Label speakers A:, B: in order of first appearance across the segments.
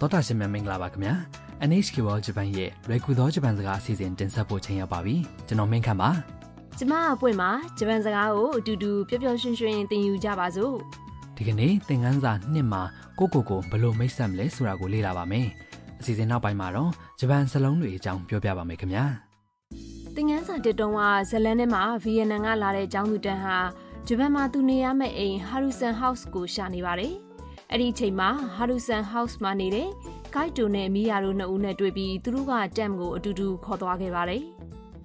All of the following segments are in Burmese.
A: သောတာရှင်များမင်္ဂလာပါခင်ဗျာ NHK World Japan ရဲ့လွယ်ကူသောဂျပန်စကားအစီအစဉ်တင်ဆက်ဖို့ချိန်ရောက်ပါပြီကျွန်တော်မင်းခမ်းပါ
B: ကျမအပွင့်မှာဂျပန်စကားကိုအတူတူပျော်ပျော်ရွှင်ရွှင်သင်ယူကြပါစို့
A: ဒီကနေ့သင်ခန်းစာနှစ်မှာကိုကိုကိုဘယ်လိုမိတ်ဆက်မလဲဆိုတာကိုလေ့လာပါမယ်အစီအစဉ်နောက်ပိုင်းမှာတော့ဂျပန်စလုံးတွေအကြောင်းပြောပြပါမယ်ခင်ဗျာ
B: သင်ငန်းစာတစ်တုံးကဇလန်ထဲမှာဗီယက်နမ်ကလာတဲ့ကျောင်းသူတန်းဟာဂျပန်မှာသူနေရမယ့်အိမ်ဟာရူဆန်ဟောက်စ်ကိုရှာနေပါတယ်အဲ့ဒီအချိန်မှာဟာရူဆန်ဟောက်စ်မှာနေတဲ့ဂိုက်တိုနဲ့မိယာတို့နှစ်ဦးနဲ့တွေ့ပြီးသူတို့ကတမ်ကိုအတူတူခေါ်သွားခဲ့ပါတယ်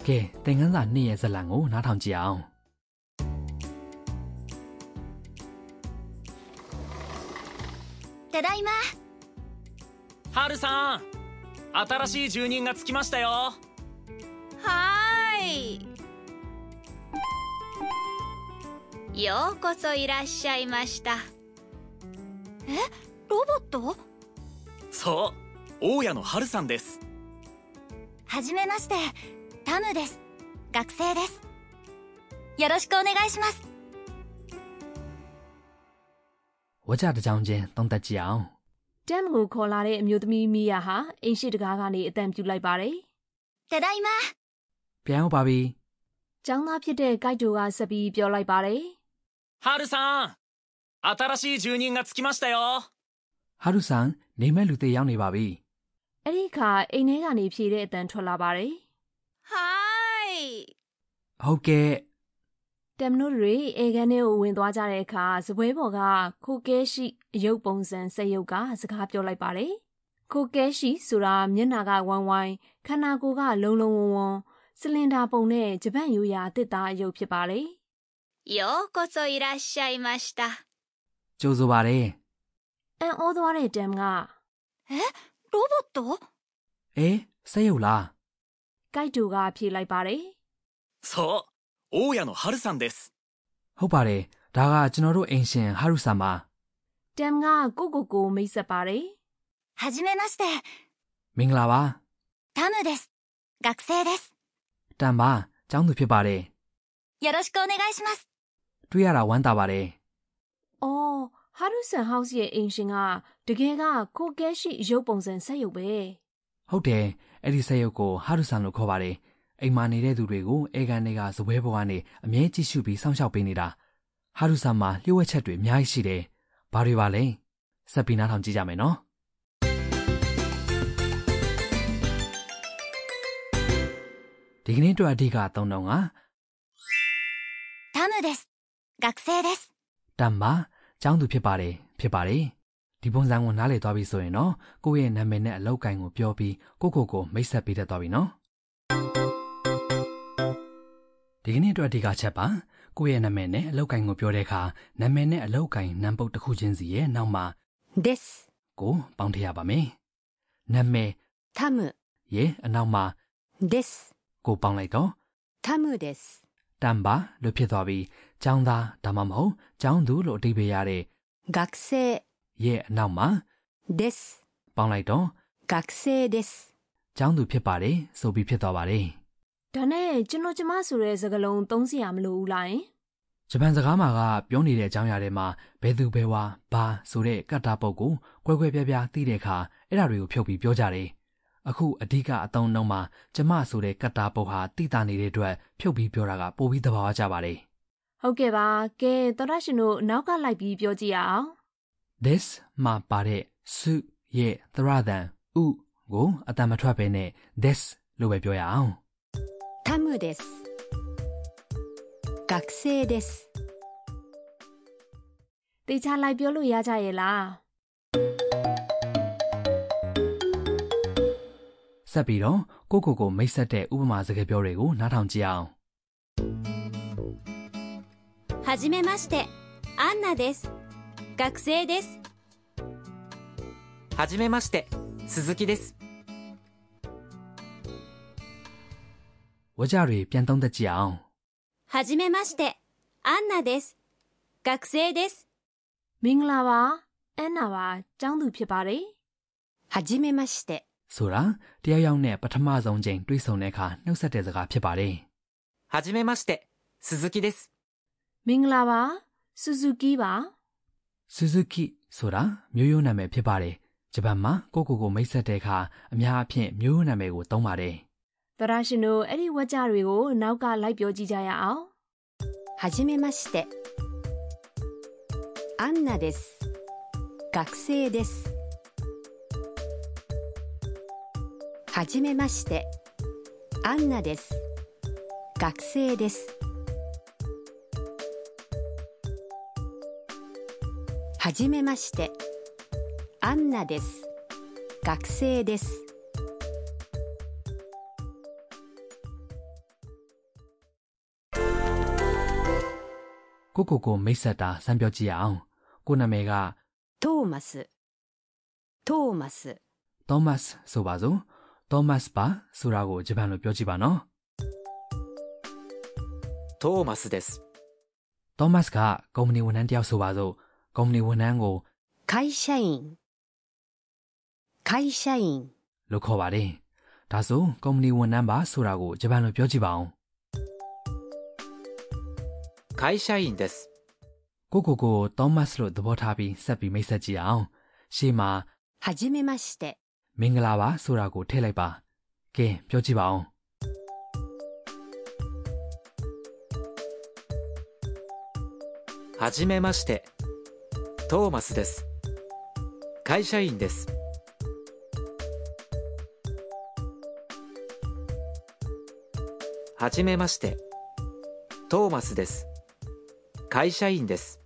A: ကဲသင်ခန်းစာနှစ်ရဲ့ဇာတ်လမ်းကိုနားထောင်ကြည့်အောင်
C: ただいま
D: ハルさん新しい住人がつきましたよ
C: はーいようこそいらっしゃいましたえロボット
D: そう大家のハルさんです
C: はじめましてタムです学生ですよろしくお願いします
A: ဝါကြတစ်ကြောင်ချင်းသုံးသပ်ကြည့်အောင်
B: တမ်ကိုခေါ်လာတဲ့အမျိုးသမီးမိယာဟာအိမ်ရှိတကားကနေအတန်ပြုလိုက်ပါတယ်
C: ただいま
A: ပြန်ရောက်ပါပြီ
B: ကျောင်းသားဖြစ်တဲ့ဂိုက်တိုကဆက်ပြီးပြောလိုက်ပါတယ်
D: ハルさん新しい住人がつきましたよ
A: ဟာရုဆန်နေမဲ့လူတွေရောက်နေပါပြီ
B: အဲ့ဒီအခါအိမ်ထဲကနေဖြေတဲ့အတန်ထွက်လာပါတယ်
C: はーい
A: ဟုတ်ကဲ့
B: တမ်နိုတွေအေကန်ထဲကိုဝင်သွားကြတဲ့အခါစပွဲပေါ်ကခိုကဲရှိအယုတ်ပုံစံဆက်ယုတ်ကစကားပြောလိုက်ပါတယ်။ခိုကဲရှိဆိုတာမျက်နာကဝိုင်းဝိုင်းခန္ဓာကိုယ်ကလုံးလုံးဝုံဝုံစလင်ဒါပုံနဲ့ဂျပန်ရိုးရာအသစ်သားအယုတ်ဖြစ်ပါလေ
C: ようこそいらっしゃいました
A: ကြိုဆိုပါတယ်
B: ။အန်အောသွားတဲ့တမ်က
C: ロボット
A: အေးဆက်ရုပ်လား
B: ဂိုက်တိုကဖြေလိုက်ပါတယ်
D: そう大家のハルさんです
A: ဟုတ်ပါတယ်ဒါကကျွန်တော်တို့အိမ်ရှင်ဟာရုဆန်ပါ
B: ။တမ်ကကိုကိုကိုမိတ်ဆက်ပါတယ်
C: はじめまして
A: မင်္ဂလာပါ
C: タムです学生です
A: တန်ပါကျောင်းသူဖြစ်ပါတယ်
C: よろしくお願いします
A: တွေ့ရတာဝမ်းသာပါတယ်
B: ။အော်ဟာရုဆန်ဟောက်စ်ရဲ့အိမ်ရှင်ကတကယ်ကခိုကဲရှိအယုတ်ပုံစံဆက်ယုတ်ပဲ။
A: ဟုတ်တယ်အဲ့ဒီဆက်ရုပ်ကိုဟာရုဆန်လို့ခေါ်ပါတယ်အိမ်မှာနေတဲ့သူတွေကိုအေကန်တွေကဇပွဲပေါ်ကနေအမြဲကြည့်ရှုပြီးစောင့်ရှောက်ပေးနေတာဟာရုဆန်မှာလျှို့ဝှက်ချက်တွေအများကြီးရှိတယ်ဘာတွေပါလဲစက်ပြီးနားထောင်ကြည့်ကြမယ်နော်ဒီကနေ့အတွက်အဓိကသုံးတော့က
C: タムです学生です
A: တန်ပါကျောင်းသူဖြစ်ပါတယ်ဖြစ်ပါတယ်ဒီပုံစံကိုနားလည်သွားပြီဆိုရင်တော့ကိုယ့်ရဲ့နာမည်နဲ့အလောက်ကိုင်းကိုပြောပြီးကိုယ့်ကိုယ်ကိုမိတ်ဆက်ပေးတတ်သွားပြီနော်ဒီကနေ့အတွက်အဓိကချက်ပါကိုယ့်ရဲ့နာမည်နဲ့အလောက်ကိုင်းကိုပြောတဲ့အခါနာမည်နဲ့အလောက်ကိုင်းနံပုတ်တစ်ခုချင်းစီရဲ့နောက်မှာ
C: です
A: ကိုပေါင်းထည့်ရပါမယ်နာမည်
C: タム
A: ရဲ့အနောက်မှာ
C: です
A: ကိုပေါင်းလိုက်တော့
C: タムです
A: တန်ပါလို့ဖြစ်သွားပြီးကျောင်းသားဒါမှမဟုတ်ကျောင်းသူလို့အဓိပ္ပာယ်ရတဲ့
C: 学生
A: ရဲ့အနောက်မှာ
C: です
A: ပေါင်းလိုက်တော့
C: 学生です
A: ကျောင်းသူဖြစ်ပါတယ်ဆိုပြီးဖြစ်သွားပါတယ်
B: ဒါနဲ့ကျွန်တော်ကျမဆိုတဲ့စကားလုံးသုံးစရာမလိုဘူးလားယင်
A: ဂျပန်စကားမှာကပြောနေတဲ့အကြောင်းအရာတွေမှာဘယ်သူဘယ်ဝါဘာဆိုတဲ့ကတ္တာပုတ်ကိုကွဲကွဲပြားပြားသိတဲ့အခါအဲ့ဒါတွေကိုဖြုတ်ပြီးပြောကြတယ်အခုအဓိကအသုံးအနှုန်းမှာကျမဆိုတဲ့ကတ္တာပုတ်ဟာတိတာနေတဲ့အတွက်ဖြုတ်ပြီးပြောတာကပိုပြီးသဘာဝကျပါတယ်
B: ဟုတ်ကဲ့ပါကဲသောတာရှင်တို့နောက်ကလိုက်ပြီးပြောကြည့်ရအောင်
A: this မှာပါတဲ့ su ရဲ့သရသံ u ကိုအတန်မထွက်ပဲနဲ့ this လို့ပဲပြောရအောင်
C: タムです学生です
B: တေချာလိုက်ပြောလို့ရကြရဲ့လား
A: ဆက်ပြီးတော့ကိုယ့်ကိုယ်ကိုမိတ်ဆက်တဲ့ဥပမာစကားပြောတွေကိုနားထောင်ကြည့်အောင်
C: はじめましてアンナです学生です
E: はじめまして鈴木です
A: ဝါကြတွေပြန်သုံးသက်ကြည့်အောင်
C: はじめましてアンナです学生です
B: မင်္ဂလာပါအန်နာပါကျောင်းသူဖြစ်ပါတယ်
C: はじめまして
A: ဆိုတာတယောက်ယောက်နဲ့ပထမဆုံးချိန်တွေ့ဆုံတဲ့အခါနှုတ်ဆက်တဲ့စကားဖြစ်ပါတယ်
E: はじめまして鈴木です
B: မင်္ဂလာပါဆူဇူကီပါ
A: ။ Suzuki ဆိုတာမျိုးရိုးနာမည်ဖြစ်ပါတယ် ဂျပန်မှာကိုကိုကိုမိတ်ဆက်တဲ့အခါအများအပြားမျိုးနာမည်ကိုသုံးပါတယ်
B: သရရှင်တို့အဲ့ဒီဝါကြတွေကိုနောက်ကလိုက်ပြောကြည့်ကြရအောင်
F: はじめましてアンナです学生ですはじめましてアンナです学生ですはじめましてアンナです学生です
A: ကိုကိုကိုမိတ်ဆက်တာစမ်းပြောကြည့်ရအောင်ကိုနာမည်က
F: トーマストーマス
A: သောမတ်ဆိုပါစို့သောမတ်ပါဆိုတာကိုဂျပန်လိုပြောကြည့်ပါနော်
E: トーマスです。
A: သောမတ်ကကုမ္ပဏီဝန်ထမ်းတစ်ယောက်ဆိုပါစို့ကုမ္ပဏီဝန်ထမ်းကို
F: 会社員会社員
A: လို့ခေါ်ပါတယ်ဒါဆိုကုမ္ပဏီဝန်ထမ်းပါဆိုတာကိုဂျပန်လိုပြောကြည့်ပါအောင်
E: 会社員です。
A: ကိုကိုကိုသောမတ်လို့သဘောထားပြီးဆက်ပြီးမိတ်ဆက်ကြည့်အောင်ရှေ့မှာ
F: はじめまして
A: မင်္ဂလာပါဆိုတာကိုထည့်လိုက်ပါကဲပြောကြည့်ပါအောင်
E: はじめまして。トーマスです。会社員です。はじめまして。トーマスです。会社員です。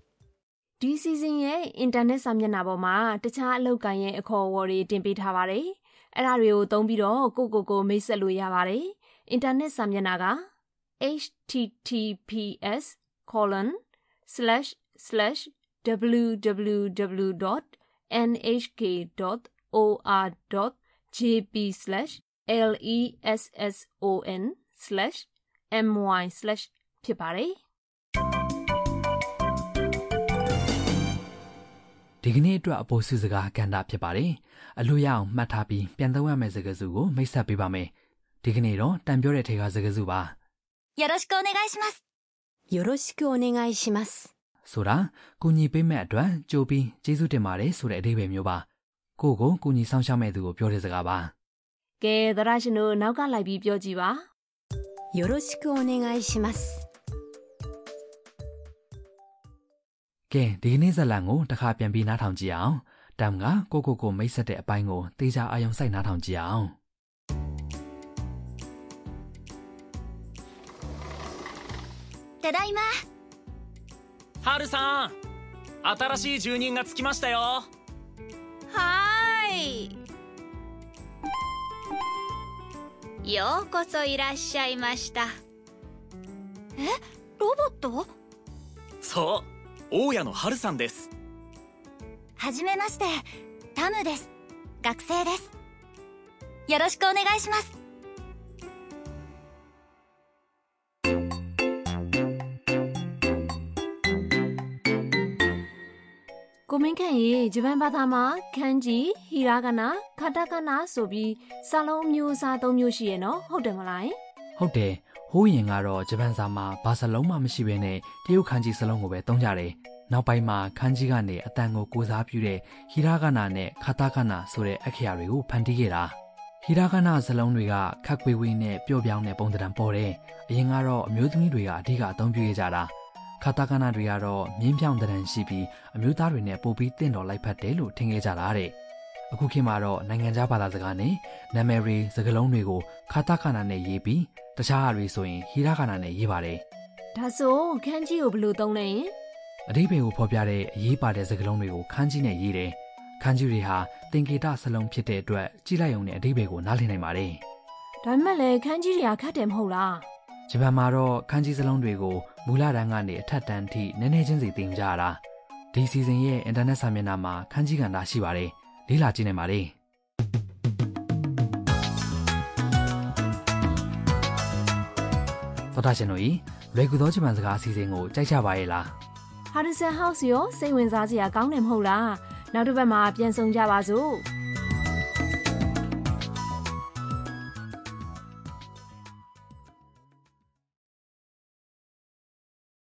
B: ဒီ season ရဲ့အင်တာနက်စာမျက်နှာပေါ်မှာတခြားအလုပ်ကိုင်ရဲ့အခေါ်အဝေါ်တွေတင်ပေးထားပါတယ်။အဲ့ဒါတွေကိုသုံးပြီးတော့ကိုယ့်ကိုယ်ကိုမိတ်ဆက်လို့ရပါတယ်။အင်တာနက်စာမျက်နှာက https://www.nhk.or.jp/lesson/my/ ဖြစ်ပါတယ်။
A: ဒီကနေ့အတွက်အပေါ်စုစကားကန်တာဖြစ်ပါတယ်အလို့ရအောင်မှတ်ထားပြီးပြန်သုံးရမယ့်စကားစုကိုမိတ်ဆက်ပေးပါမယ်ဒီကနေ့တော့တန်ပြောတဲ့ထဲကစကားစုပါ
C: よろしくお願いします。
F: よろしくお願いします
A: ဆိုတာကုညီပေးမဲ့အတွက်ကြိုပြီးကျေးဇူးတင်ပါတယ်ဆိုတဲ့အဓိပ္ပာယ်မျိုးပါကိုကိုကုညီဆောင်ရှောက်မဲ့သူကိုပြောတဲ့စကားပါ
B: ကဲသရရှင်တို့နောက်ကလိုက်ပြီးပြောကြည့်ပါ
F: よろしくお願いします
A: ကဲဒီကနေ့ဇာတ်လမ်းကိုတစ်ခါပြန်ပြီးနားထောင်ကြည့်အောင်တမ်ကကိုကိုကိုမိတ်ဆက်တဲ့အပိုင်းကိုသေချာအာရုံစိုက်နားထောင်ကြည့်အောင်
C: ただいま。
D: ハルさん新しい住人がつきましたよ
C: はーい。ようこそいらっしゃいました。え、ロボット
D: そう大家のハルさんです
C: はじめまして、タムです。学生です。よろしくお願いします。
B: ကိုမင်းခန့်ရေဂျပန်ဘာသာမှာခန်းကြီးဟီရာဂနာခါတာဂနာဆိုပြီးစာလုံးမျိုးအစားသုံးမျိုးရှိရနော်ဟုတ်တယ်မလားယင်
A: ဟုတ်တယ်ဟိုးရင်ကတော့ဂျပန်စာမှာဘာစလုံးမှမရှိဘဲနဲ့တရုတ်ခန်းကြီးစလုံးကိုပဲသုံးကြတယ်နောက်ပိုင်းမှာခန်းကြီးကနေအတန်ကိုကိုစားပြုတဲ့ဟီရာဂနာနဲ့ခါတာဂနာဆိုတဲ့အခရာတွေကိုဖန်တီးခဲ့တာဟီရာဂနာစလုံးတွေကခက်ခွေဝေးနဲ့ပျော့ပြောင်းတဲ့ပုံသဏ္ဍာန်ပေါ်တယ်အရင်ကတော့အမျိုးသမီးတွေကအဓိကအသုံးပြုခဲ့ကြတာခါတာဂနာတွေကတော့မြင်းပြောင်သဏ္ဍာန်ရှိပြီးအမျိုးသားတွေနဲ့ပိုပြီးတင့်တော်လိုက်ဖက်တယ်လို့ထင်ခဲ့ကြတာတဲ့အခုခေတ်မှာတော့နိုင်ငံခြားဘာသာစကားနဲ့ နာမည်တွေစကားလုံးတွေကိုခါတာကာနာနဲ့ရေးပြီးတခြားဟာတွေဆိုရင်ဟီရာကာနာနဲ့ရေးပါတယ်
B: ဒါဆိုခန်းကြီးကိုဘယ်လိုသုံးလဲယင်
A: အဓိပ္ပာယ်ကိုဖော်ပြတဲ့အရေးပါတဲ့စကားလုံးတွေကိုခန်းကြီးနဲ့ရေးတယ်ခန်းကြီးတွေဟာသင်္ကေတစလုံးဖြစ်တဲ့အတွက်ကြည့်လိုက်ရုံနဲ့အဓိပ္ပာယ်ကိုနားလည်နိုင်ပါတယ်
B: ဒါပေမဲ့လည်းခန်းကြီးတွေကခတ်တယ်မဟုတ်လား
A: ဂျပန်မှာတော့ခန်းကြီးစလုံးတွေကိုမူလတန်းကနေအထက်တန်းထိနည်းနည်းချင်းစီသင်ကြရတာဒီစီစဉ်ရဲ့အင်တာနက်စာမျက်နှာမှာခန်းကြီးကဏ္ဍရှိပါတယ်လေ့လာကြည့်နိုင်ပါတယ်သောတာရှင်တို့ဤလွယ်ကူသောဂျပန်စကားအစီအစဉ်ကိုကြိုက်ကြပါရဲ့လား
B: ဟာဒဆန်ဟောက်စ်ရောစိတ်ဝင်စားစရာကောင်းတယ်မဟုတ်လားနောက်တစ်ပတ်မှာပြန်ဆောင်ကြပါစို့